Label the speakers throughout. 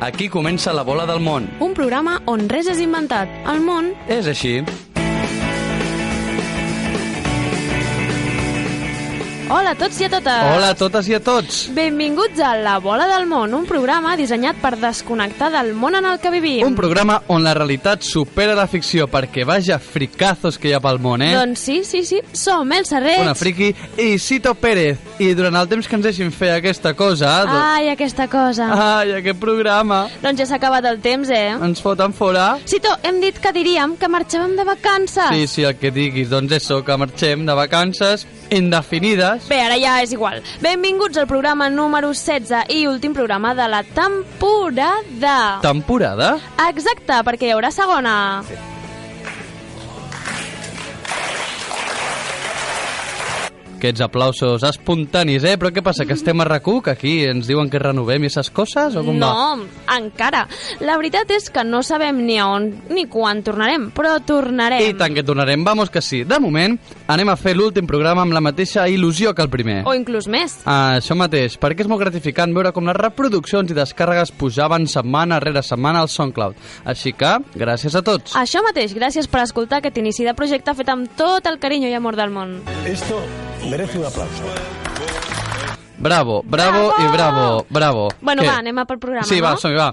Speaker 1: Aquí comença la bola del món.
Speaker 2: Un programa on res és inventat. El món...
Speaker 1: És així.
Speaker 2: Hola a tots i a totes!
Speaker 1: Ah. Hola a totes i a tots.
Speaker 2: Benvinguts a La Bola del Món, un programa dissenyat per desconnectar del món en el que vivim.
Speaker 1: Un programa on la realitat supera la ficció perquè vaja fricazos que hi ha pel món, eh?
Speaker 2: Doncs sí, sí, sí, som els Serrets.
Speaker 1: Una friki i Cito Pérez. I durant el temps que ens deixin fer aquesta cosa...
Speaker 2: Ah.
Speaker 1: doncs-
Speaker 2: Ai, aquesta cosa.
Speaker 1: Ai, aquest programa.
Speaker 2: Doncs ja s'ha acabat el temps, eh?
Speaker 1: Ens foten fora.
Speaker 2: Cito, hem dit que diríem que marxàvem de vacances.
Speaker 1: Sí, sí, el que diguis. Doncs això, que marxem de vacances indefinides.
Speaker 2: Bé, ara ja és igual. Benvinguts al programa número 16 i últim programa de la temporada.
Speaker 1: Temporada?
Speaker 2: Exacte, perquè hi haurà segona.
Speaker 1: Aquests aplausos espontanis, eh? Però què passa, que estem a RAC1, que aquí ens diuen que renovem i esses coses? O com va?
Speaker 2: No, encara. La veritat és que no sabem ni a on ni quan tornarem, però
Speaker 1: I
Speaker 2: tornarem.
Speaker 1: tant que tornarem, vamos que sí. De moment, anem a fer l'últim programa amb la mateixa il·lusió que el primer.
Speaker 2: O inclús més.
Speaker 1: Ah, això mateix, perquè és molt gratificant veure com les reproduccions i descàrregues pujaven setmana rere setmana al SoundCloud. Així que, gràcies a tots.
Speaker 2: Això mateix, gràcies per escoltar aquest inici de projecte fet amb tot el carinyo i amor del món.
Speaker 3: Esto merece un aplauso.
Speaker 1: Bravo, bravo,
Speaker 2: Bravo!
Speaker 1: i bravo, bravo.
Speaker 2: Bueno,
Speaker 1: Què?
Speaker 2: va, anem a pel programa,
Speaker 1: Sí, va,
Speaker 2: no?
Speaker 1: som va.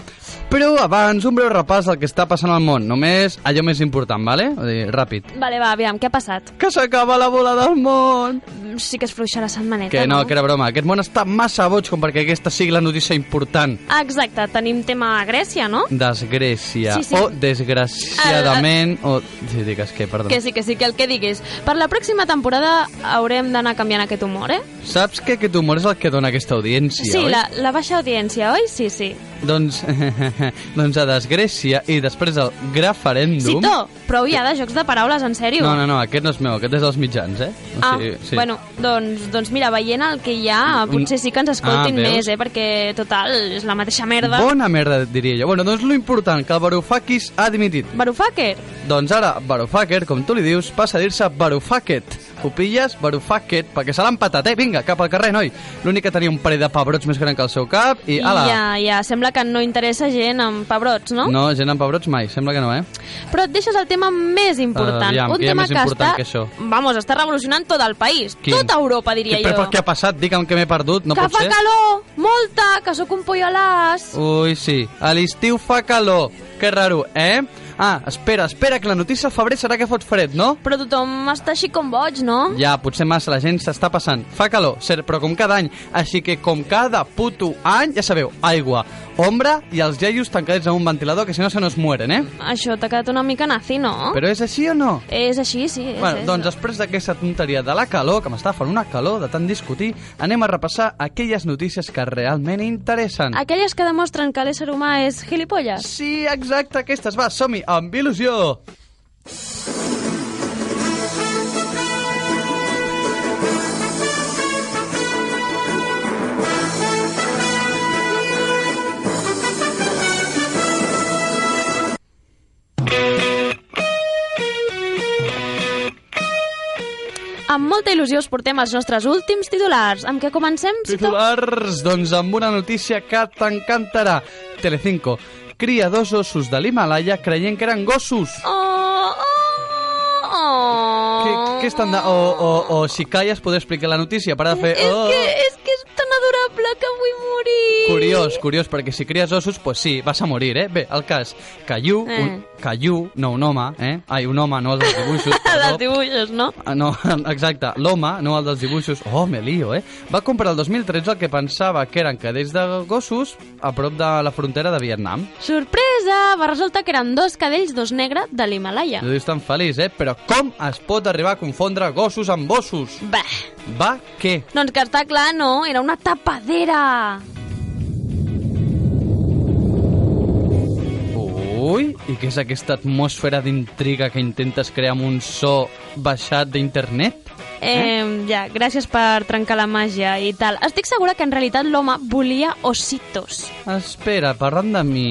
Speaker 1: Però abans, un breu repàs del que està passant al món. Només allò més important, vale? O sigui, ràpid.
Speaker 2: Vale, va, aviam, què ha passat?
Speaker 1: Que s'acaba la bola del món!
Speaker 2: Mm, Sí que es fluixa la setmaneta,
Speaker 1: Que no,
Speaker 2: no?
Speaker 1: que era broma. Aquest món està massa boig com perquè aquesta sigui la notícia important.
Speaker 2: Exacte, tenim tema a Grècia, no?
Speaker 1: Desgrècia.
Speaker 2: Sí, sí.
Speaker 1: O desgraciadament... O... Sí, digues què, perdó.
Speaker 2: Que sí, que sí, que el que diguis. Per la pròxima temporada haurem d'anar canviant aquest humor, eh?
Speaker 1: Saps que aquest humor és el que dona aquesta audiència,
Speaker 2: sí,
Speaker 1: oi?
Speaker 2: la, la baixa audiència, oi? Sí, sí.
Speaker 1: Doncs, doncs a Desgrècia i després el Graferèndum...
Speaker 2: Cito, prou ja de jocs de paraules, en sèrio.
Speaker 1: No, no, no, aquest no és meu, aquest és dels mitjans, eh? O
Speaker 2: Ah,
Speaker 1: sigui, sí.
Speaker 2: bueno, doncs, doncs mira, veient el que hi ha, potser sí que ens escoltin
Speaker 1: Ah, veus?
Speaker 2: més, eh? Perquè, total, és la mateixa merda.
Speaker 1: Bona merda, diria jo. Bueno, doncs lo important, que el Varoufakis ha dimitit.
Speaker 2: Varoufakis.
Speaker 1: Doncs ara, Varoufaker, com tu li dius, passa a dir-se Varoufaket. Ho pilles? Varoufaket, perquè se l'ha empatat, eh? Vinga, cap al carrer, noi. L'únic que tenia un parell de pebrots més gran que el seu cap i ala.
Speaker 2: Ja, ja, sembla que no interessa gent amb pebrots, no?
Speaker 1: No, gent amb pebrots mai, sembla que no, eh?
Speaker 2: Però et deixes el tema més important.
Speaker 1: aviam,
Speaker 2: un
Speaker 1: que hi ha
Speaker 2: tema
Speaker 1: més important
Speaker 2: que
Speaker 1: que
Speaker 2: està...
Speaker 1: això.
Speaker 2: Vamos, està revolucionant tot el país.
Speaker 1: Quin?
Speaker 2: Tota Europa, diria
Speaker 1: Què-
Speaker 2: jo.
Speaker 1: Però què ha passat? Digue'm que m'he perdut, no
Speaker 2: que
Speaker 1: pot
Speaker 2: fa
Speaker 1: ser.
Speaker 2: calor, molta, que sóc un pollo a l'as.
Speaker 1: Ui, sí. A l'estiu fa calor. Que raro, eh? Ah, espera, espera, que la notícia al febrer serà que fot fred, no?
Speaker 2: Però tothom està així com boig, no?
Speaker 1: Ja, potser massa, la gent s'està passant. Fa calor, cert, però com cada any. Així que com cada puto any, ja sabeu, aigua, ombra i els iaios tancadets en un ventilador, que si no se nos mueren, eh?
Speaker 2: Això t'ha quedat una mica nazi, no?
Speaker 1: Però és així o no?
Speaker 2: És així, sí. És,
Speaker 1: Bueno,
Speaker 2: és.
Speaker 1: doncs després d'aquesta tonteria de la calor, que m'està fent una calor de tant discutir, anem a repassar aquelles notícies que realment interessen.
Speaker 2: Mm. Aquelles que demostren que l'ésser humà és gilipolles.
Speaker 1: Sí, exacte, aquestes. Va, som-hi, amb il·lusió!
Speaker 2: Amb molta il·lusió us portem els nostres últims titulars. Amb què comencem? Cito?
Speaker 1: Titulars, doncs amb una notícia que t'encantarà. Telecinco. Cria dos ossos de l'Himalaya creient que eren gossos.
Speaker 2: Oh, oh, oh.
Speaker 1: Què, què estan de... O, o, o si calles podré explicar la notícia, para de fer...
Speaker 2: És,
Speaker 1: Oh.
Speaker 2: que, és que és tan adorable que vull morir.
Speaker 1: Curiós, curiós, perquè si cries ossos, pues sí, vas a morir, eh? Bé, el cas, Cayú,
Speaker 2: Eh.
Speaker 1: eh. un, Cayú, no un home, eh? Ai, un home, no el dels dibuixos,
Speaker 2: Dels
Speaker 1: perdó.
Speaker 2: dibuixos, no?
Speaker 1: Ah, No, exacte, l'home, no el dels dibuixos. Oh, me lío, eh? Va comprar el 2013 el que pensava que eren cadells de gossos a prop de la frontera de Vietnam.
Speaker 2: Sorpresa! Va resultar que eren dos cadells, dos negre, de l'Himalaya.
Speaker 1: No dius tan feliç, eh? Però com es pot arribar a confondre gossos amb ossos?
Speaker 2: Bah!
Speaker 1: Va què?
Speaker 2: Doncs que està clar, no, era una tapadera.
Speaker 1: Ui, i què és aquesta atmosfera d'intriga que intentes crear amb un so baixat d'internet?
Speaker 2: Eh, ja, gràcies per trencar la màgia i tal. Estic segura que en realitat l'home volia ositos.
Speaker 1: Espera, parlant de mi...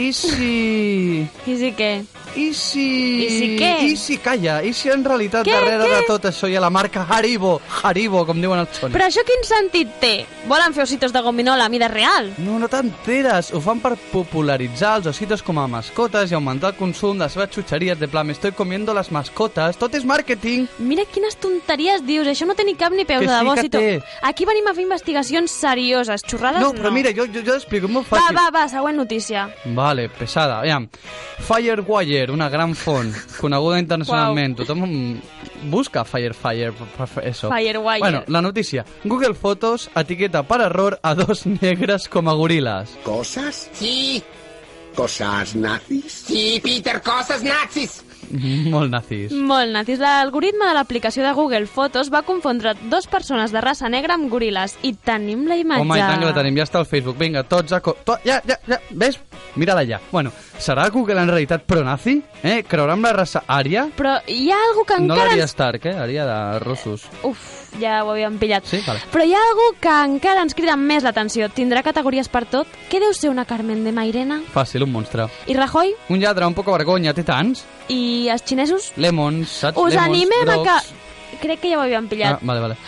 Speaker 1: I si...
Speaker 2: I sí que...
Speaker 1: I si...
Speaker 2: I si què?
Speaker 1: I si calla? I si en realitat
Speaker 2: Què,
Speaker 1: darrere
Speaker 2: què?
Speaker 1: de tot això hi ha la marca Haribo? Haribo, com diuen els Sony.
Speaker 2: Però això quin sentit té? Volen fer ositos de gominola a mida real?
Speaker 1: No, no t'enteres. Ho fan per popularitzar els ositos com a mascotes i augmentar el consum de les seves xutxeries de plan, "Me estoy comiendo las mascotas. Tot és màrqueting.
Speaker 2: Mira quines tonteries dius, això no té ni cap ni peus
Speaker 1: Que sí
Speaker 2: de debò.
Speaker 1: que
Speaker 2: si tu-
Speaker 1: té.
Speaker 2: Aquí venim a fer investigacions serioses, xorrades
Speaker 1: No,
Speaker 2: no.
Speaker 1: però mira, jo, jo, jo l'explico, és molt
Speaker 2: Va,
Speaker 1: fàcil.
Speaker 2: va, va, següent notícia.
Speaker 1: Vale, pesada. Aviam. Firewire, una gran font, coneguda internacionalment. Wow. Tothom busca Firefire per fer això.
Speaker 2: Firewire.
Speaker 1: Bueno, la notícia. Google Fotos etiqueta per error a dos negres com a goril·les.
Speaker 4: ¿Cosas?
Speaker 5: Sí,
Speaker 4: ¿Cosas nazis?
Speaker 5: sí, Peter, cosas nazis.
Speaker 2: Mm.
Speaker 1: Molt nazis.
Speaker 2: Molt natis. L'algoritme de l'aplicació de Google Fotos va confondre dos persones de raça negra amb goril·les. I tenim la imatge.
Speaker 1: Home, i tant que la tenim, ja està al Facebook. Vinga, tots a... Co to ja, ja, ja, ves? Mira-la ja. Bueno, serà Google en realitat pronazi? Eh? Creurà amb la raça ària?
Speaker 2: Però hi ha algú que
Speaker 1: No
Speaker 2: encara
Speaker 1: l'Aria
Speaker 2: ens...
Speaker 1: Stark, eh? Ària de russos.
Speaker 2: Uf, ja ho havíem pillat.
Speaker 1: Sí? Vale.
Speaker 2: Però hi ha algú que encara ens crida més l'atenció. Tindrà categories per tot? Què deu ser una Carmen de Mairena?
Speaker 1: Fàcil, un monstre.
Speaker 2: I Rajoy?
Speaker 1: Un lladre, un poc vergonya, té tants.
Speaker 2: I els xinesos?
Speaker 1: Lemons, saps?
Speaker 2: Us
Speaker 1: Lemons,
Speaker 2: animem a que...
Speaker 1: grocs.
Speaker 2: Crec que ja ho havíem
Speaker 1: Ah,
Speaker 2: pillat.
Speaker 1: vale, vale.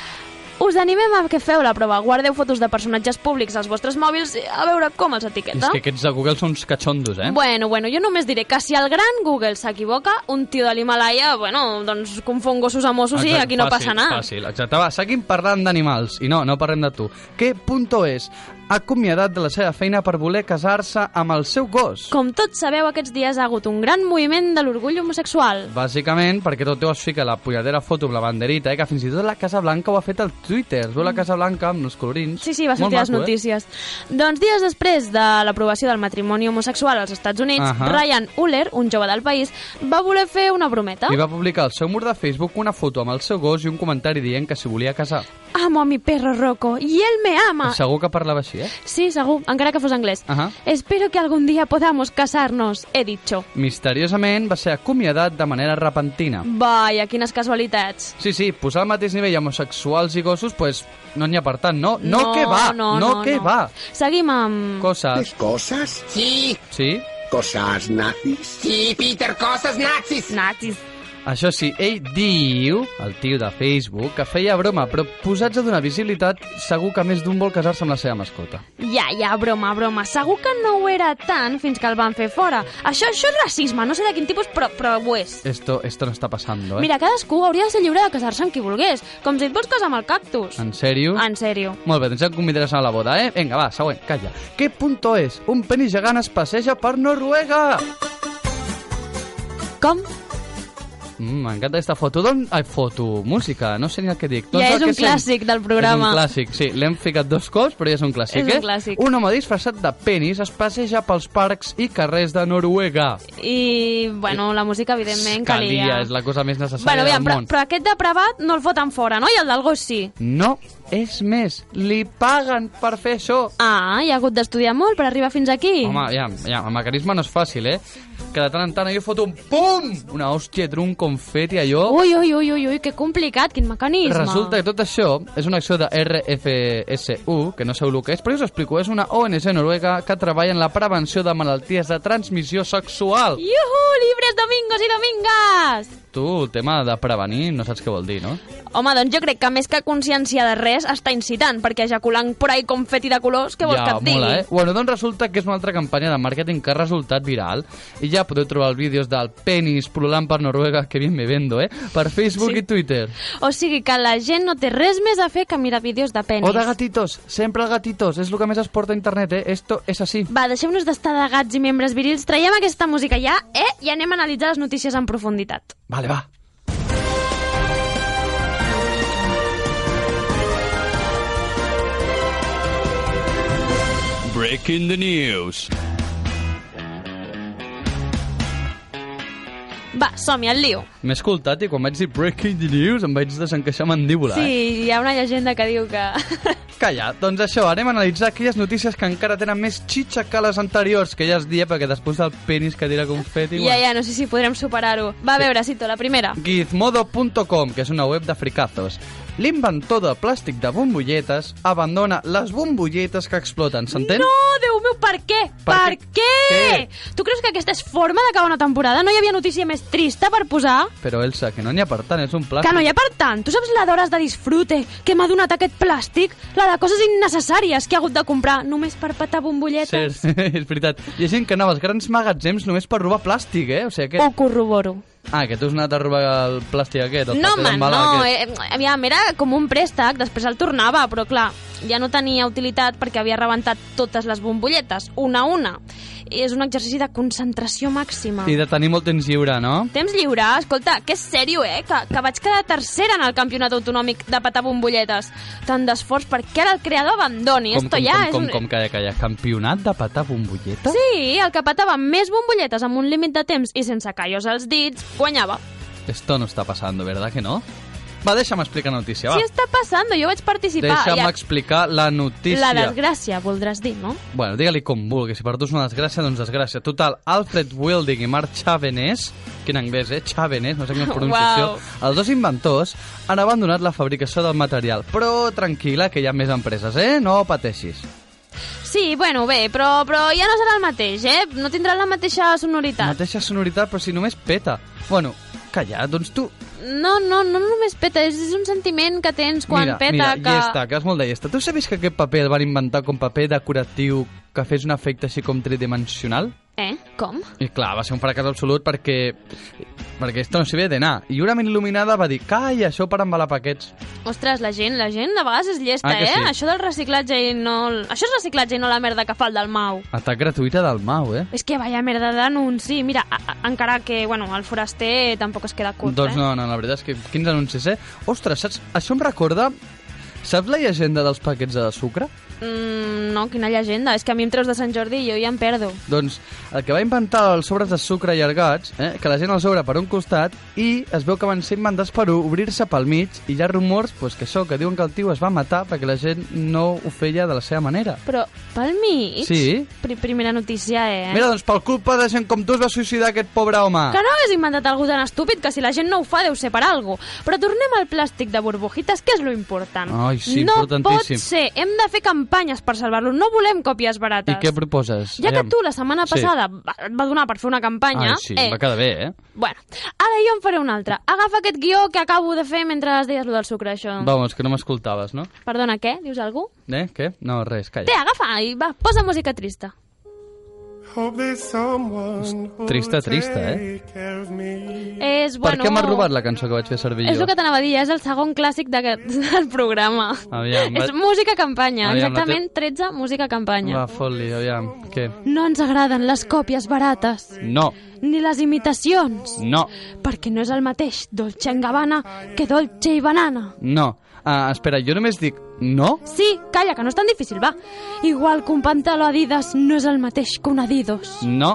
Speaker 2: Us animem a que feu la prova. Guardeu fotos de personatges públics als vostres mòbils i a veure com els
Speaker 1: És
Speaker 2: etiqueta.
Speaker 1: que aquests de Google són uns catxondos, eh?
Speaker 2: Bueno, bueno, jo només diré que si el gran Google s'equivoca, un tio de l'Himalaya, bueno, doncs confon gossos amb ossos i
Speaker 1: Exacte,
Speaker 2: aquí no
Speaker 1: fàcil,
Speaker 2: passa nada.
Speaker 1: Fàcil, exacte. Va, seguim parlant d'animals. I no, no parlem de tu. Què punto és? Acomiadat de la seva feina per voler casar-se amb el seu gos.
Speaker 2: Com tots sabeu, aquests dies ha hagut un gran moviment de l'orgull homosexual.
Speaker 1: Bàsicament perquè tot teu es fica la polladera foto amb la banderita, eh? que fins i tot la Casa Blanca ho ha fet al Twitter. Es veu la Casa Blanca amb els colorins.
Speaker 2: Mm.
Speaker 1: eh?
Speaker 2: Sí, sí, va sortir a les notícies. Doncs dies després de l'aprovació del matrimoni homosexual als Estats Units,
Speaker 1: Ahà.
Speaker 2: Ryan Uller, un jove del país, va voler fer una brometa.
Speaker 1: Eh? I va publicar al seu mur de Facebook una foto amb el seu gos i un comentari dient que s'hi volia casar.
Speaker 2: Amo a mi perro Rocco, y él me ama.
Speaker 1: Segur que parlava així, eh?
Speaker 2: Sí, segur, encara que fos anglès.
Speaker 1: Ahà.
Speaker 2: Espero que algún día podamos casarnos, he dicho.
Speaker 1: Misteriosament va ser acomiadat de manera repentina.
Speaker 2: Vaja, quines casualitats.
Speaker 1: Sí, sí, posar al mateix nivell homosexuals i gossos, pues, no n'hi ha per tant, no? No, que va,
Speaker 2: no,
Speaker 1: no,
Speaker 2: no
Speaker 1: que
Speaker 2: no. Mm.
Speaker 1: va.
Speaker 2: Seguim amb...
Speaker 1: Coses,
Speaker 4: ¿Cosas?
Speaker 5: Sí,
Speaker 1: sí?
Speaker 4: ¿Cosas nazis?
Speaker 5: sí, Peter, cosas nazis.
Speaker 2: Nazis.
Speaker 1: Això sí, ell diu, el tio de Facebook, que feia broma, però posats a donar visibilitat, segur que més d'un vol casar-se amb la seva mascota.
Speaker 2: Ja, ja, broma, broma. Segur que no ho era tant fins que el van fer fora. Això, això és racisme, no sé de quin tipus, però, però ho és.
Speaker 1: Esto, esto no està passando, eh?
Speaker 2: Mira, cadascú hauria de ser lliure de casar-se amb qui volgués, com si et vols casar amb el cactus.
Speaker 1: En sèrio?
Speaker 2: En sèrio.
Speaker 1: Molt bé, doncs ja em convidaràs a la boda, eh? Vinga, va, següent, calla. Què punto és? Un penis gegant es passeja per Noruega!
Speaker 2: Com?
Speaker 1: Mm, M'encanta aquesta foto. D'on... Ai, foto, música, no sé ni el que dic. el
Speaker 2: Ja és
Speaker 1: que
Speaker 2: un clàssic del programa.
Speaker 1: És un clàssic, sí. L'hem ficat dos cops, però ja és un clàssic,
Speaker 2: És un
Speaker 1: eh?
Speaker 2: clàssic.
Speaker 1: Un home disfressat de penis es passeja pels parcs i carrers de Noruega.
Speaker 2: I, bueno, la música, evidentment, calia.
Speaker 1: Calia, és la cosa més necessària
Speaker 2: Bueno, aviam,
Speaker 1: del
Speaker 2: però,
Speaker 1: món.
Speaker 2: però aquest depravat no el foten fora, no? I el del gos sí.
Speaker 1: No, és més, li paguen per fer això.
Speaker 2: Ah, hi ha hagut d'estudiar molt per arribar fins aquí.
Speaker 1: Home, ja, ja, el mecanisme no és fàcil, eh? Que de tant en tant jo foto un pum! Una hòstia, trun, confeti, allò...
Speaker 2: Ui, ui, ui, ui, ui, que complicat, quin mecanisme.
Speaker 1: Resulta que tot això és una acció de RFSU, que no sé el que és, però jo us explico, és una ONG noruega que treballa en la prevenció de malalties de transmissió sexual.
Speaker 2: Iuhu, llibres domingos i domingas!
Speaker 1: Tu, el tema de prevenir, no saps què vol dir, no?
Speaker 2: Home, doncs jo crec que més que consciència de res està incitant, perquè ejaculant por ahí confeti de colors, què vols
Speaker 1: ja,
Speaker 2: que et digui?
Speaker 1: mola, eh? Bueno, doncs resulta que és una altra campanya de màrqueting que ha resultat viral i ja podeu trobar els vídeos del penis pululant per Noruega, que bien me vendo, eh? Per Facebook sí. i Twitter.
Speaker 2: O sigui que la gent no té res més a fer que mirar vídeos de penis.
Speaker 1: O de gatitos, sempre el gatitos, és el que més es porta a internet, eh? Esto és així.
Speaker 2: Va, deixem-nos d'estar de gats i membres virils, traiem aquesta música ja, eh? I anem a analitzar les notícies en profunditat.
Speaker 1: Vale, va.
Speaker 6: Breaking the news.
Speaker 2: Va, som-hi, al lío.
Speaker 1: M'he escoltat i quan vaig dir Breaking the News em vaig desencaixar mandíbula, eh?
Speaker 2: Sí, hi ha una llegenda que diu que...
Speaker 1: Calla, doncs això, anem a analitzar aquelles notícies que encara tenen més xitxa que les anteriors, que ja es dia perquè després del penis que tira confeti...
Speaker 2: ja, ja, no sé si podrem superar-ho. Va, a veure, Cito, la primera.
Speaker 1: Gizmodo.com, que és una web de fricazos. L'inventor de plàstic de bombolletes abandona les bombolletes que exploten, s'entén?
Speaker 2: No, Déu meu, per què?
Speaker 1: Per
Speaker 2: Per,
Speaker 1: què?
Speaker 2: què? Tu creus que aquesta és forma d'acabar una temporada? No hi havia notícia més trista per posar?
Speaker 1: Però Elsa, que no n'hi ha per tant, és un plàstic.
Speaker 2: Que no hi ha per tant. Tu saps la d'hores de disfrute que m'ha donat aquest plàstic? La de coses innecessàries que he hagut de comprar només per petar bombolletes?
Speaker 1: Cert, és veritat. Hi ha gent que anava als grans magatzems només per robar plàstic, eh? O sigui,
Speaker 2: Ho
Speaker 1: aquest...
Speaker 2: corroboro.
Speaker 1: Ah, que tu has anat a robar el plàstic aquest. El
Speaker 2: No,
Speaker 1: paper
Speaker 2: home,
Speaker 1: d'embalar
Speaker 2: no.
Speaker 1: aquest.
Speaker 2: Eh, aviam, era com un préstec, després el tornava, però clar, ja no tenia utilitat perquè havia rebentat totes les bombolletes, una a una. I és un exercici de concentració màxima.
Speaker 1: I de tenir molt temps lliure, no?
Speaker 2: Temps lliure, escolta, que és sèrio, eh? Que, que vaig quedar tercera en el campionat autonòmic de petar bombolletes. Tant d'esforç perquè ara el creador abandoni.
Speaker 1: Com,
Speaker 2: Esto
Speaker 1: com,
Speaker 2: ja
Speaker 1: com,
Speaker 2: és
Speaker 1: com,
Speaker 2: un...
Speaker 1: com, calla, calla. Campionat de petar bombolletes?
Speaker 2: Sí, el que petava més bombolletes amb un límit de temps i sense callos als dits, guanyava.
Speaker 1: Esto no está pasando, ¿verdad que no? Va, deixa'm explicar la notícia, va.
Speaker 2: Sí, està passant, jo vaig participar.
Speaker 1: deixa'm
Speaker 2: I a-
Speaker 1: explicar la notícia.
Speaker 2: La desgràcia, voldràs dir, no?
Speaker 1: Bueno, digue-li com vulgui. Si per tu és una desgràcia, doncs desgràcia. Total, Alfred Wilding i Mark Chavenés, quin anglès, eh? Chavenés, no sé quina pronunciació.
Speaker 2: Uau.
Speaker 1: Els dos inventors han abandonat la fabricació del material. Però tranquil·la, que hi ha més empreses, eh? No pateixis.
Speaker 2: Sí, bueno, bé, però, però ja no serà el mateix, eh? No tindrà la mateixa sonoritat.
Speaker 1: Mateixa sonoritat, però si només peta. Bueno, calla, doncs tu...
Speaker 2: No, no, no només peta, és, és un sentiment que tens quan
Speaker 1: mira,
Speaker 2: peta
Speaker 1: mira,
Speaker 2: que...
Speaker 1: llesta, que és molt de llesta. Tu sabies que aquest paper el van inventar com paper decoratiu que fes un efecte així com tridimensional?
Speaker 2: Eh? Com?
Speaker 1: I clar, va ser un fracàs absolut perquè... perquè esto no s'hi ve d'anar. I una ment il·luminada va dir, calla, això per embalar paquets.
Speaker 2: Ostres, la gent, la gent de vegades és llesta,
Speaker 1: Ah, que
Speaker 2: eh?
Speaker 1: sí?
Speaker 2: Això del reciclatge i no... el- Això és reciclatge i no la merda que fa el del Mau.
Speaker 1: Atac gratuïta del Mau, eh?
Speaker 2: És que vaya merda d'anunci. Mira, a, a, encara que, bueno, el foraster tampoc es queda curt,
Speaker 1: doncs
Speaker 2: eh?
Speaker 1: no, no, la veritat és que quins anuncis, eh? Ostres, saps, això em recorda... Saps la llegenda dels paquets de sucre?
Speaker 2: Mm, no, quina llegenda. És que a mi em treus de Sant Jordi i jo ja em perdo.
Speaker 1: Doncs el que va inventar els sobres de sucre allargats, eh, que la gent els obre per un costat i es veu que van ser inventats per obrir-se pel mig i hi ha rumors pues, que això, que diuen que el tio es va matar perquè la gent no ho feia de la seva manera.
Speaker 2: Però pel mig...
Speaker 1: Sí.
Speaker 2: Pri primera notícia, eh?
Speaker 1: Mira, doncs per culpa de gent com tu es va suïcidar aquest pobre home.
Speaker 2: Que no hagués inventat algú tan estúpid que si la gent no ho fa deu ser per algo. Però tornem al plàstic de burbujitas, que és lo important.
Speaker 1: Ai, sí,
Speaker 2: no pot
Speaker 1: importantíssim.
Speaker 2: ser. Hem de fer campanyes per salvar-lo. No volem còpies barates.
Speaker 1: I què proposes?
Speaker 2: Ja que
Speaker 1: Aviam.
Speaker 2: tu la setmana
Speaker 1: Sí.
Speaker 2: passada va- et va donar per fer una campanya...
Speaker 1: Ai, sí, eh. va quedar bé, eh?
Speaker 2: Bueno, ara jo en faré una altra. Agafa aquest guió que acabo de fer mentre es deies lo del sucre, això.
Speaker 1: Vamos, que no m'escoltaves, no?
Speaker 2: Perdona, què? Dius algú?
Speaker 1: Eh, què? No, res,
Speaker 2: Té,
Speaker 1: calla.
Speaker 2: agafa i va, posa música trista.
Speaker 1: Trista, trista, eh?
Speaker 2: És,
Speaker 1: Per
Speaker 2: bueno...
Speaker 1: què m'has robat la cançó que vaig fer servir
Speaker 2: És
Speaker 1: jo?
Speaker 2: el que t'anava a dir, ja és el segon clàssic d'aquest- del programa.
Speaker 1: Aviam, va-
Speaker 2: és música campanya,
Speaker 1: Aviam, va-
Speaker 2: exactament 13 música campanya.
Speaker 1: Va, fot-li, aviam. Què?
Speaker 2: No ens agraden les còpies barates,
Speaker 1: No,
Speaker 2: ni les imitacions,
Speaker 1: no,
Speaker 2: perquè no és el mateix Dolce Gabbana que Dolce i Banana.
Speaker 1: No. Ah, espera, jo només dic no?
Speaker 2: Sí, calla, que no és tan difícil, va. Igual que un pantaló Adidas no és el mateix que un Adidos.
Speaker 1: No,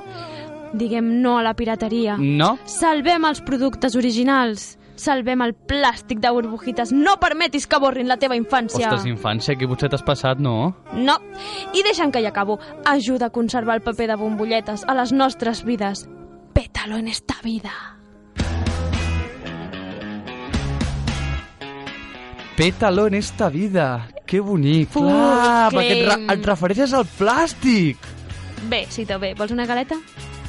Speaker 2: Diguem no a la pirateria.
Speaker 1: no,
Speaker 2: Salvem els productes originals. Salvem el plàstic de burbujitas. No permetis que borrin la teva infància.
Speaker 1: Ostres, infància, aquí potser t'has passat, no?
Speaker 2: No. I deixa'm que hi acabo. Ajuda a conservar el paper de bombolletes a les nostres vides. Pétalo en esta vida.
Speaker 1: Pétalo en esta vida. Que bonic.
Speaker 2: Full
Speaker 1: Clar,
Speaker 2: claim.
Speaker 1: perquè et, re et refereixes al plàstic.
Speaker 2: Bé, Cito, bé, vols una galeta?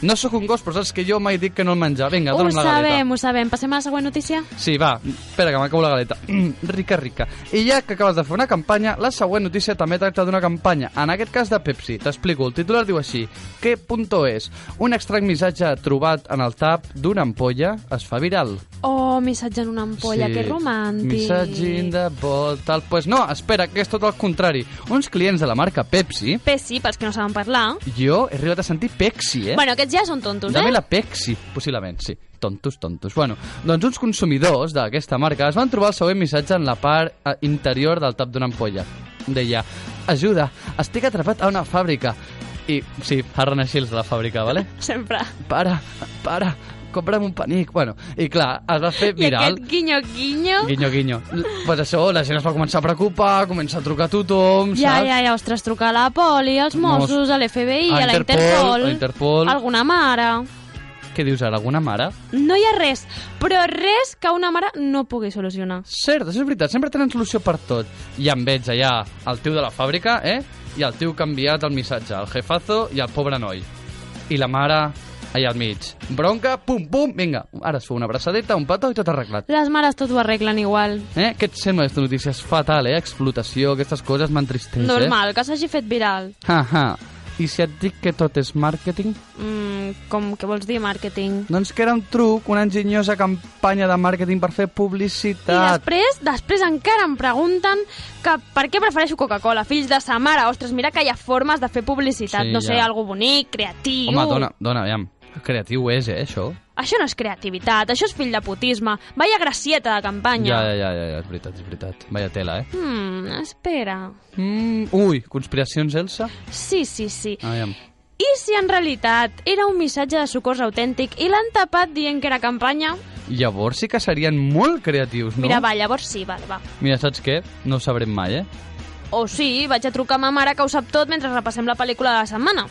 Speaker 1: No sóc un gos, però saps que jo mai dic que no el menjar. Vinga,
Speaker 2: ho
Speaker 1: dóna'm la galeta.
Speaker 2: sabem, ho sabem. Passem a la següent notícia?
Speaker 1: Sí, va, espera, que m'acabo la galeta. Mm, rica, rica. I ja que acabes de fer una campanya, la següent notícia també tracta d'una campanya, en aquest cas de Pepsi. T'explico, el titular diu així. Que punto és? Un estrany missatge trobat en el tap d'una ampolla es fa viral.
Speaker 2: Oh, missatge en una ampolla, que romàntic.
Speaker 1: Missatge de volta... Al... Pues no, espera, que és tot el contrari. Uns clients de la marca Pepsi...
Speaker 2: Pessi, pels que no saben parlar.
Speaker 1: Jo he arribat a sentir Pepsi, eh?
Speaker 2: Bueno, aquests ja són tontos,
Speaker 1: Dame
Speaker 2: eh?
Speaker 1: la Pepsi, possiblement, sí. Tontos, tontos. Bueno, doncs uns consumidors d'aquesta marca es van trobar el següent missatge en la part eh, interior del tap d'una ampolla. Deia, ajuda, estic atrapat a una fàbrica. I, sí, farren així els de la fàbrica, vale?
Speaker 2: Sempre.
Speaker 1: Para, para, compra'm un panic. Bueno, i clar, es va fer
Speaker 2: I
Speaker 1: viral.
Speaker 2: aquest guinyo, guinyo...
Speaker 1: Guinyo, guinyo. L- Pues això, la gent es va començar a preocupar, comença a trucar a tothom,
Speaker 2: Ja,
Speaker 1: saps?
Speaker 2: ja, ja, ostres, trucar a la poli, als
Speaker 1: Mos-
Speaker 2: Mossos, a l'FBI,
Speaker 1: a
Speaker 2: a la
Speaker 1: Interpol,
Speaker 2: Interpol,
Speaker 1: a Interpol.
Speaker 2: alguna mare.
Speaker 1: Què dius ara? Alguna mare?
Speaker 2: No hi ha res, però res que una mare no pugui solucionar.
Speaker 1: Cert, això és veritat, sempre tenen solució per tot. I em veig allà el tio de la fàbrica, eh? I el tio que ha enviat el missatge, el jefazo i el pobre noi. I la mare allà al mig. Bronca, pum, pum, vinga. Ara es fa una abraçadeta, un petó i tot arreglat.
Speaker 2: Les mares tot ho arreglen igual.
Speaker 1: Eh? Què et sembla aquesta notícia? És fatal, eh? Explotació, aquestes coses m'entristeix,
Speaker 2: Normal, que s'hagi fet viral.
Speaker 1: eh? Ha, ha. I si et dic que tot és màrqueting?
Speaker 2: Mm, com que vols dir màrqueting?
Speaker 1: Doncs que era un truc, una enginyosa campanya de màrqueting per fer
Speaker 2: I
Speaker 1: publicitat.
Speaker 2: després, després encara em pregunten que per què prefereixo Coca-Cola, fills de sa mare. Ostres, mira que hi ha formes de fer publicitat,
Speaker 1: Sí,
Speaker 2: no
Speaker 1: ja.
Speaker 2: sé, algo bonic, creatiu.
Speaker 1: Home, dona, dona, aviam. Creatiu és, eh, això?
Speaker 2: Això no és creativitat, això és fill de putisme. Vaya gracieta de campanya.
Speaker 1: Ja, ja, ja, ja, ja, és veritat, és veritat. Vaya tela, eh?
Speaker 2: Hmm, espera.
Speaker 1: Mm, ui, conspiracions, Elsa? Ah,
Speaker 2: Sí, sí, sí.
Speaker 1: Aviam.
Speaker 2: I si en realitat era un missatge de socors autèntic i l'han tapat dient que era campanya?
Speaker 1: Llavors sí que serien molt creatius, no?
Speaker 2: Mira, va, llavors sí, val, va.
Speaker 1: Mira, saps què? No ho sabrem mai, eh?
Speaker 2: O sí, vaig a trucar a ma mare que ho sap tot mentre repassem la pel·lícula de la setmana.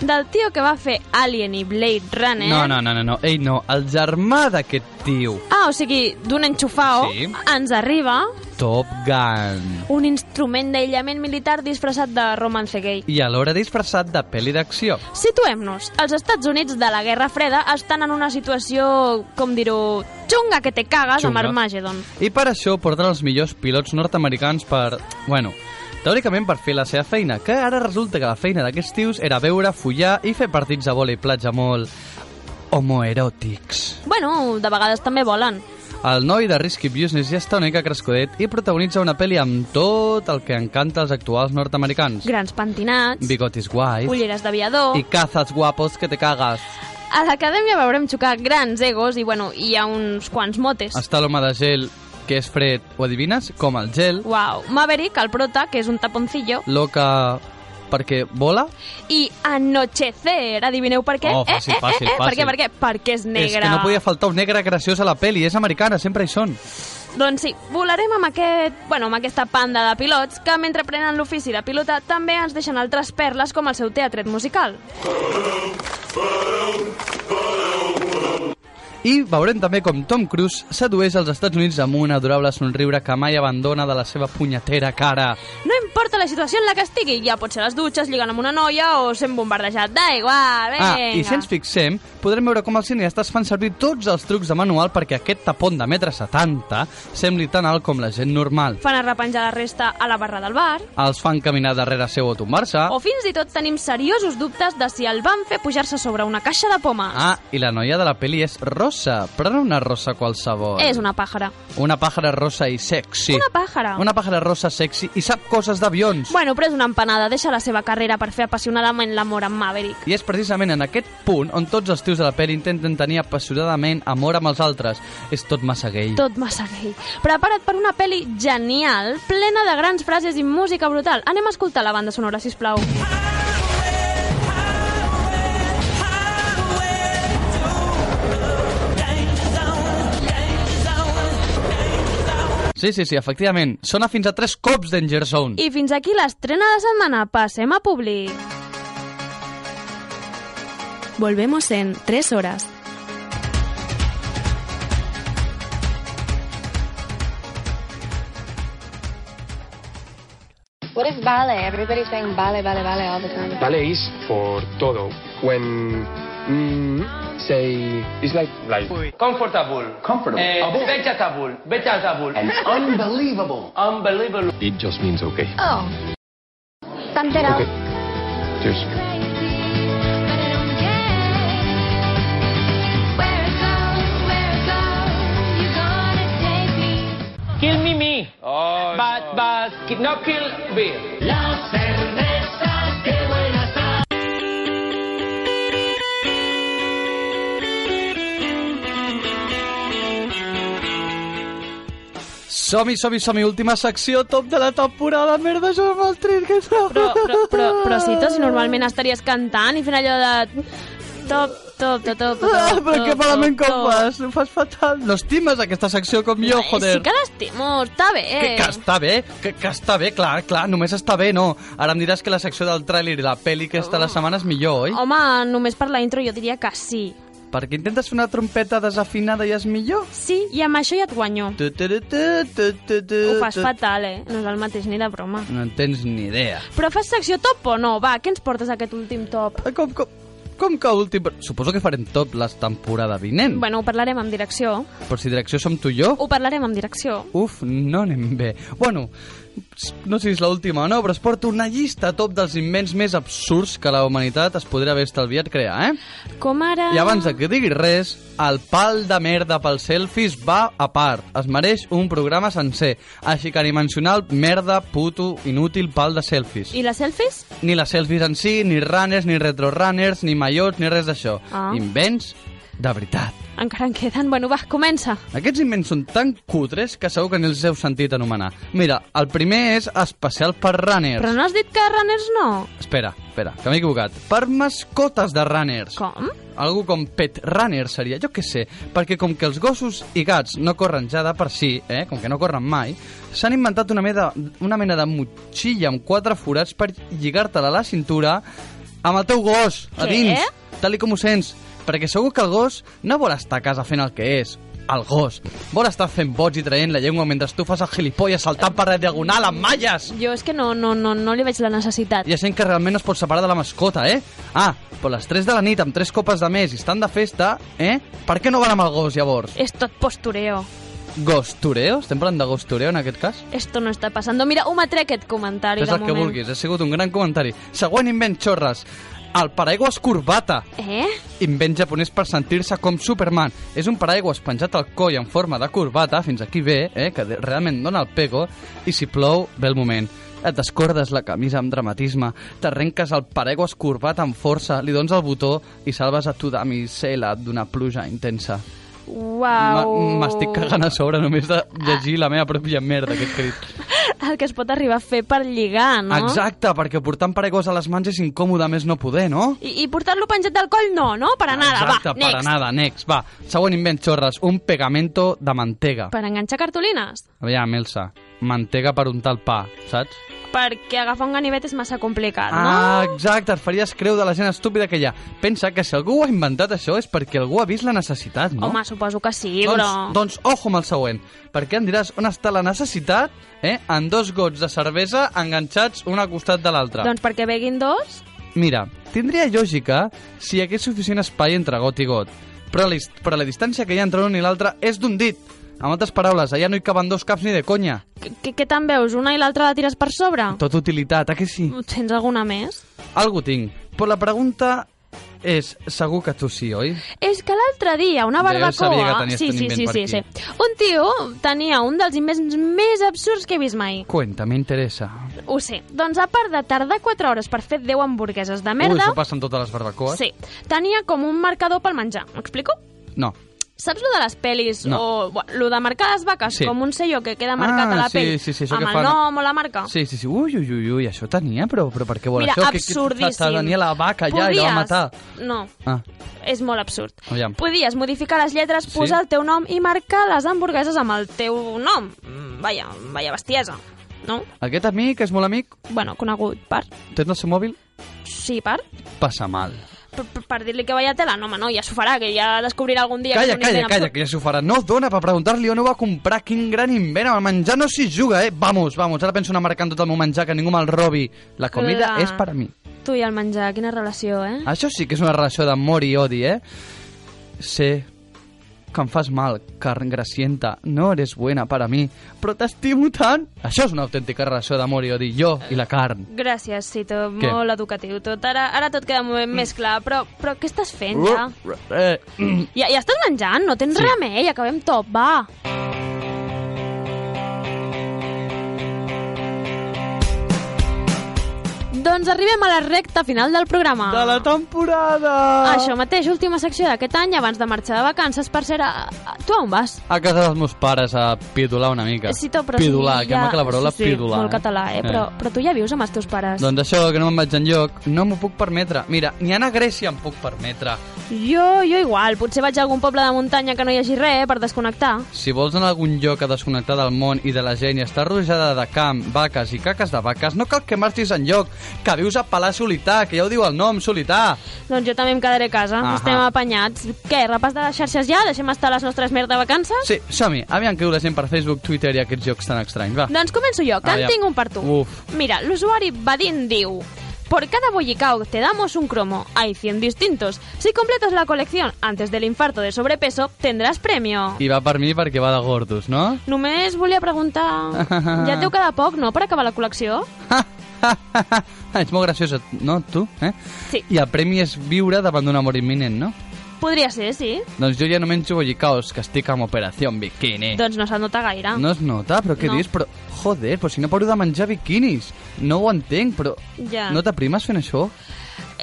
Speaker 2: Del tio que va fer Alien i Blade Runner...
Speaker 1: No, no, no, no, no. Ei, no, el germà d'aquest tio.
Speaker 2: Ah, o sigui, d'un enxufao
Speaker 1: Sí.
Speaker 2: ens arriba
Speaker 1: Top Gun.
Speaker 2: un instrument d'aïllament militar disfressat de romance gay.
Speaker 1: I alhora disfressat de pel·li d'acció.
Speaker 2: Situem-nos. Els Estats Units de la Guerra Freda estan en una situació, com dir-ho, xunga que te cagues
Speaker 1: Xunga.
Speaker 2: amb Armageddon.
Speaker 1: I per això porten els millors pilots nord-americans per... Bueno, teòricament per fer la seva feina, que ara resulta que la feina d'aquests tios era beure, follar i fer partits de vòlei platja molt homoeròtics.
Speaker 2: Bueno, de vegades també volen. el
Speaker 1: El noi de Risky Business ja està una mica crescudet i protagonitza una pel·li amb tot el que encanta als actuals nord-americans.
Speaker 2: Grans pentinats,
Speaker 1: Bigotis guais
Speaker 2: ulleres d'aviador...
Speaker 1: i cazas guapos que te cagas.
Speaker 2: A l'acadèmia veurem xocar grans egos i, bueno, hi ha uns quants motes.
Speaker 1: Està l'home de gel que és fred, ho adivines? Com el gel,
Speaker 2: Wow. Maverick, el prota, que és un taponcillo,
Speaker 1: loca perquè vola,
Speaker 2: i Anochecer, adivineu per què?
Speaker 1: Oh, fàcil, fàcil,
Speaker 2: eh, eh, eh, Per
Speaker 1: fàcil.
Speaker 2: què, per què? Perquè és negre.
Speaker 1: és que no podia faltar un negre graciós a la pel·li, és americana, sempre hi són.
Speaker 2: Doncs sí, volarem amb, aquest, bueno, amb aquesta panda de pilots que, mentre prenen l'ofici de pilota, també ens deixen altres perles com el seu teatret musical.
Speaker 1: I veurem també com Tom Cruise sedueix als Estats Units amb un adorable somriure que mai abandona de la seva punyetera cara.
Speaker 2: No importa la situació en la que estigui, ja pot ser a les dutxes, lligant amb una noia o sent bombardejat. Da igual, vinga.
Speaker 1: Ah, i si ens fixem, podrem veure com els cineastes fan servir tots els trucs de manual perquè aquest tapon de metre 70 sembli tan alt com la gent normal.
Speaker 2: Fan a repenjar la resta a la barra del bar.
Speaker 1: Els fan caminar darrere seu o tombar-se.
Speaker 2: O fins i tot tenim seriosos dubtes de si el van fer pujar-se sobre una caixa de pomes.
Speaker 1: Ah, i la noia de la peli és rosa, però no una rosa qualsevol.
Speaker 2: És una pàjara.
Speaker 1: Una pàjara rosa i sexy.
Speaker 2: Una pàjara.
Speaker 1: Una pàjara rosa sexy i sap coses d'avions.
Speaker 2: Bueno, però és una empanada. Deixa la seva carrera per fer apassionadament l'amor amb Maverick.
Speaker 1: I és precisament en aquest punt on tots els tios de la peli intenten tenir apassionadament amor amb els altres. És tot massa gai.
Speaker 2: Tot massa gay. Prepara't per una pel·li genial, plena de grans frases i música brutal. Anem a escoltar la banda sonora, si plau.
Speaker 1: Sí, sí, sí, efectivament. Sona fins a tres cops Danger Zone.
Speaker 2: I fins aquí l'estrena de setmana. Passem a públic. Volvemos en 3 horas.
Speaker 6: What if ballet? Everybody's saying ballet, ballet, ballet all the time.
Speaker 7: Ballet is for todo. When mm, say it's like like
Speaker 8: Comfortable. Comfortable. vegetable. Vegetable.
Speaker 5: Unbelievable.
Speaker 8: Unbelievable.
Speaker 7: it just means okay.
Speaker 6: Oh. Thumbs it up.
Speaker 7: Okay. Cheers.
Speaker 8: Kill me me. Oh, but but ki- no kill me.
Speaker 1: Som-hi, som-hi, som-hi. Última secció, top de la temporada. Merda, això és el trin que
Speaker 2: Però, però, però, però sí, tu, si normalment estaries cantant i fent allò de... Top, top, top, top, top,
Speaker 1: Ah, però
Speaker 2: top,
Speaker 1: que malament
Speaker 2: top,
Speaker 1: com ho
Speaker 2: top.
Speaker 1: fas, ho fas fatal. No estimes aquesta secció com jo,
Speaker 2: Ai,
Speaker 1: joder.
Speaker 2: Sí que l'estimo, està bé.
Speaker 1: Que, que està bé, que, que està bé, clar, clar, només està bé, no. Ara em diràs que la secció del tràiler i la pel·li que està a la
Speaker 2: Oh.
Speaker 1: setmana és millor, oi?
Speaker 2: Home, només per la intro jo diria que sí.
Speaker 1: Perquè intentes fer una trompeta desafinada i és millor?
Speaker 2: Sí, i amb això ja et guanyo.
Speaker 1: Tu, tu, tu, tu, tu, tu, tu,
Speaker 2: Ho fas
Speaker 1: tu.
Speaker 2: fatal, eh? No és el mateix ni de broma.
Speaker 1: No en tens ni idea.
Speaker 2: Però fas secció top o no? Va, què ens portes aquest últim top?
Speaker 1: Ah, Com, com, com que últim... Suposo que farem top la temporada vinent.
Speaker 2: Bueno, ho parlarem amb direcció.
Speaker 1: Però si direcció som tu i jo...
Speaker 2: Ho parlarem amb direcció.
Speaker 1: Uf, no anem bé. Bueno, no sé si és l'última o no, però es porta una llista top dels invents més absurds que la humanitat es podria haver estalviat crear, eh?
Speaker 2: Com ara...
Speaker 1: I abans de que digui res, el pal de merda pels selfies va a part. Es mereix un programa sencer. Així que ni mencionar el merda, puto, inútil pal de selfies.
Speaker 2: I les selfies?
Speaker 1: Ni les selfies en si, ni runners, ni retrorunners, ni maillots, ni res d'això.
Speaker 2: Ah.
Speaker 1: Invents de veritat.
Speaker 2: Encara en queden. Bueno, va, comença.
Speaker 1: Aquests invents són tan cutres que segur que ni els heu sentit anomenar. Mira, el primer és especial per runners.
Speaker 2: Però no has dit que runners no?
Speaker 1: Espera, espera, que m'he equivocat. Per mascotes de runners.
Speaker 2: Com?
Speaker 1: Algú com pet runner seria, jo que sé, perquè com que els gossos i gats no corren ja de per si, eh, com que no corren mai, s'han inventat una mena, una mena de motxilla amb quatre forats per lligar-te-la a la cintura amb el teu gos, a
Speaker 2: Què?
Speaker 1: dins, tal i com ho sents, perquè segur que el gos no vol estar a casa fent el que és, el gos. Vol estar fent bots i traient la llengua mentre tu fas el gilipolles saltant per la diagonal amb malles.
Speaker 2: Jo és que no, no, no, no li veig la necessitat.
Speaker 1: Hi ha gent que realment no es pot separar de la mascota, eh? Ah, però a les 3 de la nit amb 3 copes de més i estan de festa, eh? Per què no van amb el gos, llavors?
Speaker 2: És tot postureo.
Speaker 1: Gostureo? Estem parlant de gostureo, en aquest cas?
Speaker 2: Esto no está pasando. Mira, ho matré aquest comentari
Speaker 1: És
Speaker 2: de
Speaker 1: el que
Speaker 2: moment.
Speaker 1: vulguis, ha sigut un gran comentari. Següent invent, xorres. El paraigües corbata.
Speaker 2: Eh?
Speaker 1: Invent japonès per sentir-se com Superman. És un paraigües penjat al coll en forma de corbata, fins aquí bé, eh, que de- realment dona el pego, i si plou, ve el moment. Et descordes la camisa amb dramatisme, t'arrenques el paraigües corbat amb força, li dones el botó i salves a tu de micela d'una pluja intensa. Ma-
Speaker 2: Uau.
Speaker 1: M'estic cagant a sobre només de llegir la meva pròpia merda que he escrit.
Speaker 2: El que es pot arribar a fer per lligar, no?
Speaker 1: Exacte, perquè portant paraigües a les mans és incòmode, a més no poder, no?
Speaker 2: I, i portar-lo penjat del coll, no, no? Per a nada,
Speaker 1: Exacte,
Speaker 2: va,
Speaker 1: per a
Speaker 2: next.
Speaker 1: nada, next, va. Següent invent, xorres, un pegamento de mantega.
Speaker 2: Per enganxar cartolines.
Speaker 1: Aviam, Elsa, mantega per untar el pa, saps?
Speaker 2: Perquè agafar un ganivet és massa complicat,
Speaker 1: Ah, exacte, et faries creu de la gent estúpida que hi ha. Pensa que si algú ho ha inventat això és perquè algú ha vist la necessitat,
Speaker 2: no?
Speaker 1: no?
Speaker 2: Home, suposo que sí,
Speaker 1: doncs,
Speaker 2: però...
Speaker 1: doncs ojo amb el següent, perquè em diràs on està la necessitat eh, en dos gots de cervesa enganxats un al costat de l'altre.
Speaker 2: Doncs perquè beguin dos,
Speaker 1: Mira, tindria lògica si hi hagués suficient espai entre got i got, però la, his- però la distància que hi ha entre un i l'altre és d'un dit. Amb altres paraules, allà no hi caben dos caps ni de conya.
Speaker 2: que, que, que te'n veus? Una i l'altra la tires per sobre?
Speaker 1: Tot utilitat, a que sí?
Speaker 2: Tens alguna més?
Speaker 1: Algo tinc, però la pregunta és, segur que tu sí, oi?
Speaker 2: És que l'altre dia, una
Speaker 1: Ja, jo sabia que
Speaker 2: barbacoa...
Speaker 1: tenies
Speaker 2: sí,
Speaker 1: un
Speaker 2: sí,
Speaker 1: invent
Speaker 2: sí,
Speaker 1: per
Speaker 2: sí, sí.
Speaker 1: aquí.
Speaker 2: Un tio tenia un dels invents més absurds que he vist mai.
Speaker 1: Cuenta, m'interessa.
Speaker 2: Ho sé. Doncs a part de tardar 4 hores per fer 10 hamburgueses de
Speaker 1: Ui,
Speaker 2: merda...
Speaker 1: això passa en totes les barbacoes?
Speaker 2: sí. Tenia com un marcador pel menjar. M'explico?
Speaker 1: No.
Speaker 2: Saps lo de les pel·lis
Speaker 1: No.
Speaker 2: o bueno, lo de marcar les vaques
Speaker 1: Sí.
Speaker 2: com un sello que queda marcat
Speaker 1: Ah,
Speaker 2: a la
Speaker 1: sí,
Speaker 2: pell
Speaker 1: sí, sí, això
Speaker 2: amb
Speaker 1: que
Speaker 2: el
Speaker 1: fan-
Speaker 2: nom o la marca?
Speaker 1: Sí, sí, sí. Ui, ui, ui, ui, això tenia, però, però per què vol
Speaker 2: Mira,
Speaker 1: això? Que- que-
Speaker 2: absurdíssim.
Speaker 1: Se tenia la vaca ja i la va matar.
Speaker 2: No,
Speaker 1: Ah,
Speaker 2: és molt absurd.
Speaker 1: Aviam.
Speaker 2: Podies modificar les lletres,
Speaker 1: Sí.
Speaker 2: posar el teu nom i marcar les hamburgueses amb el teu nom. Mm, Vaya, vaya bestiesa, no?
Speaker 1: aquest amic és molt amic,
Speaker 2: Bueno, conegut per...
Speaker 1: tens el seu mòbil,
Speaker 2: Sí, per...
Speaker 1: passa mal.
Speaker 2: Per, per- per dir-li que vaya tela, no, home, no, ja s'ho farà, que ja descobrirà algun dia...
Speaker 1: Calla,
Speaker 2: que és un
Speaker 1: calla,
Speaker 2: invent
Speaker 1: calla,
Speaker 2: absurd.
Speaker 1: que ja s'ho farà. No dona per preguntar-li on ho va comprar, quin gran invent. Amb el menjar no s'hi juga, eh? Vamos, vamos, ara penso anar marcant tot el meu menjar, que ningú me'l robi. La comida
Speaker 2: Clar.
Speaker 1: és per a mi.
Speaker 2: Tu i el menjar, quina relació, eh?
Speaker 1: Això sí que és una relació d'amor i odi, eh? Sé que em fas mal, carn gracienta, no eres buena para mi, però t'estimo tant. Això és una autèntica relació d'amor i odi, jo i la carn.
Speaker 2: Gràcies, Cito.
Speaker 1: Què? Mm.
Speaker 2: Molt educatiu tot. Ara, ara tot queda mo- més clar, però, però què estàs fent ja?
Speaker 1: Eh,
Speaker 2: Ja, ja estàs menjant, no tens
Speaker 1: Sí.
Speaker 2: remei, acabem top, va. Doncs arribem a la recta final del programa.
Speaker 1: De la temporada!
Speaker 2: Això mateix, última secció d'aquest any, abans de marxar de vacances. Per ser, a... a- tu on vas?
Speaker 1: A casa dels meus pares a pidolar una mica.
Speaker 2: Sí, tu, però
Speaker 1: pidolar,
Speaker 2: sí,
Speaker 1: que
Speaker 2: ja...
Speaker 1: maca la paraula
Speaker 2: sí, sí,
Speaker 1: pidolar.
Speaker 2: Molt català, eh? Però, però tu ja vius amb els teus pares.
Speaker 1: Doncs això, que no me'n vaig enlloc, no m'ho puc permetre. Mira, ni anar a Grècia em puc permetre.
Speaker 2: Jo, jo igual. Potser vaig a algun poble de muntanya que no hi hagi res eh, per desconnectar.
Speaker 1: Si vols anar a algun lloc a desconnectar del món i de la gent i estar rodejada de camp, vaques i caques de vaques, no cal que marxis enlloc, que vius a Palà Solità, que ja ho diu el nom, Solità.
Speaker 2: Doncs jo també em quedaré a casa.
Speaker 1: Ahà.
Speaker 2: Estem apanyats. Què, repàs de les xarxes ja? Deixem estar les nostres merda vacances?
Speaker 1: Sí, som-hi. Aviam que diu la gent per Facebook, Twitter i aquests llocs tan estranys, va.
Speaker 2: Doncs començo jo, que
Speaker 1: Ah,
Speaker 2: en
Speaker 1: ja.
Speaker 2: tinc un per tu.
Speaker 1: Uf.
Speaker 2: Mira, l'usuari Badin diu... Por cada bollicao te damos un cromo. Hay 100 distintos. Si completas la colección antes del infarto de sobrepeso, tendrás premio.
Speaker 1: I va per mi perquè va de gordos, no?
Speaker 2: Només volia preguntar... Ja et deu cada poc, no?, per acabar la col·lecció?
Speaker 1: Ets molt graciosa, no, tu? Eh?
Speaker 2: Sí.
Speaker 1: I el premi és viure davant d'un amor imminent, no?
Speaker 2: Podria ser, sí.
Speaker 1: Doncs jo ja no menjo bollicaos, que estic amb Operació Bikini.
Speaker 2: Doncs no se't nota gaire.
Speaker 1: No es nota, però què
Speaker 2: No.
Speaker 1: dius? Però, joder, però si no paro de menjar biquinis. No ho entenc, però...
Speaker 2: Ja.
Speaker 1: No t'aprimes fent això?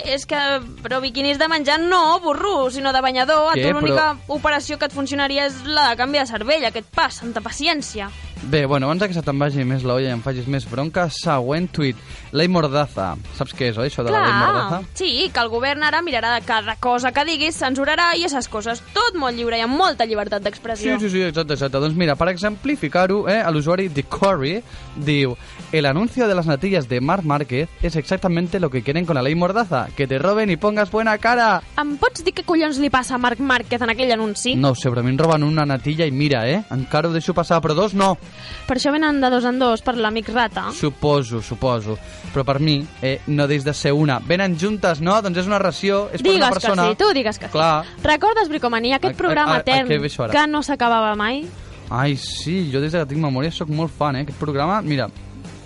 Speaker 2: És que, però biquinis de menjar no, burro, sinó de banyador. A
Speaker 1: Què,
Speaker 2: tu l'única operació que et funcionaria és la de canvi de cervell, aquest pas, santa paciència.
Speaker 1: Bé, bueno, abans que se te'n vagi més la olla i em facis més bronca, següent tuit. Lei Mordaza. Saps què és, oi, això de la Lei Mordaza?
Speaker 2: sí, que el govern ara mirarà de cada cosa que diguis, censurarà i aquestes coses. Tot molt lliure i amb molta llibertat
Speaker 1: Sí,
Speaker 2: d'expressió.
Speaker 1: sí, sí, exacte, exacte. Doncs mira, per exemplificar-ho, eh, l'usuari de Corey diu El anuncio de las natillas de Marc Márquez es exactamente lo que quieren con la ley mordaza, que te roben y pongas buena cara.
Speaker 2: Em pots dir què collons li passa a Marc Márquez en aquell anunci?
Speaker 1: No ho sé, però a mi em roben una natilla i mira, eh, encara ho deixo passar, però dos no.
Speaker 2: Per això venen de dos en dos per l'amic Rata.
Speaker 1: Suposo, suposo. Però per mi eh, no deix de ser una. Venen juntes, no? Doncs és una ració, és per una
Speaker 2: Digues que
Speaker 1: persona...
Speaker 2: sí, tu digues que
Speaker 1: Clar.
Speaker 2: sí. Recordes, Bricomania,
Speaker 1: A-
Speaker 2: aquest
Speaker 1: a-
Speaker 2: programa
Speaker 1: a- a
Speaker 2: etern
Speaker 1: què ve això ara?
Speaker 2: que no s'acabava mai?
Speaker 1: Ai, sí, jo des de que tinc memòria sóc molt fan, eh? Aquest programa, mira,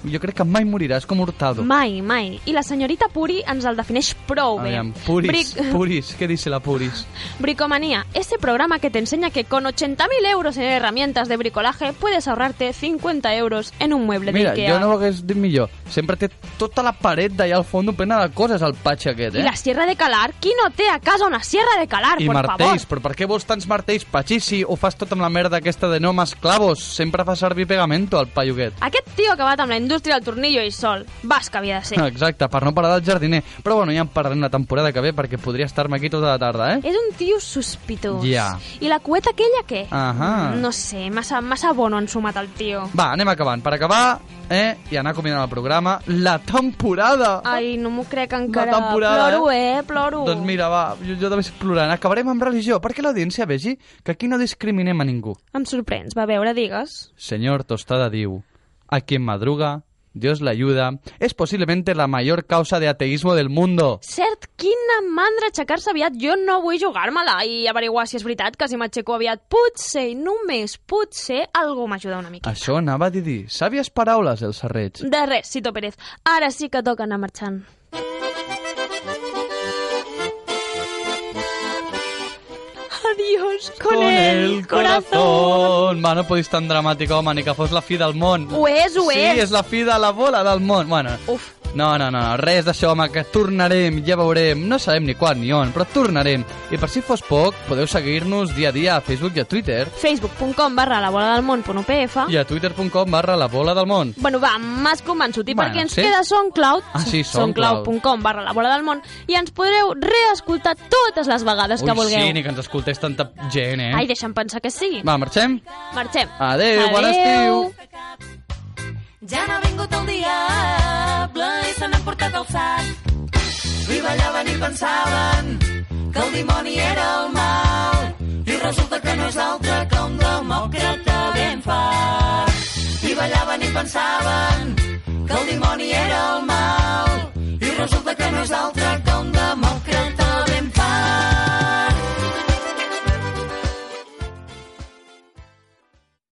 Speaker 1: jo crec que mai morirà, és com Hurtado.
Speaker 2: Mai, mai. I la senyorita Puri ens el defineix prou bé.
Speaker 1: Aviam, Puris,
Speaker 2: Bric-
Speaker 1: Puris, ¿qué dice la Puris?
Speaker 2: Bricomanía, ese programa que te enseña que con 80.000 euros en herramientas de bricolaje puedes ahorrarte 50 euros en un mueble
Speaker 1: Mira,
Speaker 2: de Ikea.
Speaker 1: jo no ho hagués dit millor. Sempre té tota la paret d'allà al fons plena de coses, el patx aquest,
Speaker 2: I
Speaker 1: eh?
Speaker 2: la sierra de calar, qui no té a casa una sierra de calar,
Speaker 1: I
Speaker 2: por
Speaker 1: martells,
Speaker 2: favor?
Speaker 1: però per què vols tants martells, patxi, si ho fas tot amb la merda aquesta de no m'esclavos? Sempre fa servir pegamento, el paio aquest.
Speaker 2: Aquest tio ha acabat amb la indústria del tornillo i sol. Vas que havia de ser.
Speaker 1: Exacte, per no parar del jardiner. Però bueno, ja en parlarem la temporada que ve perquè podria estar-me aquí tota la tarda, eh?
Speaker 2: És un tio sospitós.
Speaker 1: Ja.
Speaker 2: I la cueta aquella, què?
Speaker 1: Ahà.
Speaker 2: No sé, massa, massa bono han sumat el tio.
Speaker 1: Va, anem acabant. Per acabar, eh, i anar acomiadant el programa, la temporada!
Speaker 2: Ai, no m'ho crec encara.
Speaker 1: La temporada,
Speaker 2: ploro,
Speaker 1: eh?
Speaker 2: eh? Ploro.
Speaker 1: Doncs mira, va, jo, jo també estic plorant. Acabarem amb religió, perquè l'audiència vegi que aquí no discriminem a ningú.
Speaker 2: Em sorprens, va a veure, digues.
Speaker 1: Señor Tostada diu, a quien madruga, Dios le ayuda, es posiblemente la mayor causa de ateísmo del mundo.
Speaker 2: Cert, quina mandra aixecar-se aviat. Jo no vull jugar-me-la i averiguar si és veritat que si m'aixeco aviat potser, només potser, algú m'ajuda una mica.
Speaker 1: Això anava a dir, sàvies paraules, el Sarreig.
Speaker 2: De res, Cito Pérez. Ara sí que toca anar marxant. Adiós, con, el corazón.
Speaker 1: Va, no podis tan dramàtic, home, ni que fos la fi del món.
Speaker 2: Ho és, ho
Speaker 1: sí,
Speaker 2: és.
Speaker 1: és la fi de la bola del món. Bueno,
Speaker 2: Uf.
Speaker 1: No, no, no, no, res d'això, home, que tornarem, ja veurem, no sabem ni quan ni on, però tornarem. I per si fos poc, podeu seguir-nos dia a dia a Facebook i a Twitter
Speaker 2: Facebook.com barra la bola del món punt UPF.
Speaker 1: i a twitter.com barra la bola del món.
Speaker 2: Bueno, va, m'has convençut i
Speaker 1: Bueno,
Speaker 2: perquè ens
Speaker 1: sí.
Speaker 2: queda SoundCloud,
Speaker 1: Ah, sí, SoundCloud.
Speaker 2: soundcloud.com barra la bola del món, i ens podreu reescoltar totes les vegades que
Speaker 1: Ui,
Speaker 2: vulgueu.
Speaker 1: sí, ni que ens escoltés tanta gent, eh?
Speaker 2: Ai, deixa'm pensar que sí.
Speaker 1: Va, marxem?
Speaker 2: Marxem.
Speaker 1: Adéu, bon estiu.
Speaker 9: Ja n'ha vingut el diable i se n'ha emportat el sac. I ballaven i pensaven que el dimoni era el mal. I resulta que no és altre que un demòcrata ben fart. I ballaven i pensaven que el dimoni era el mal. I resulta que no és altre que un demòcrata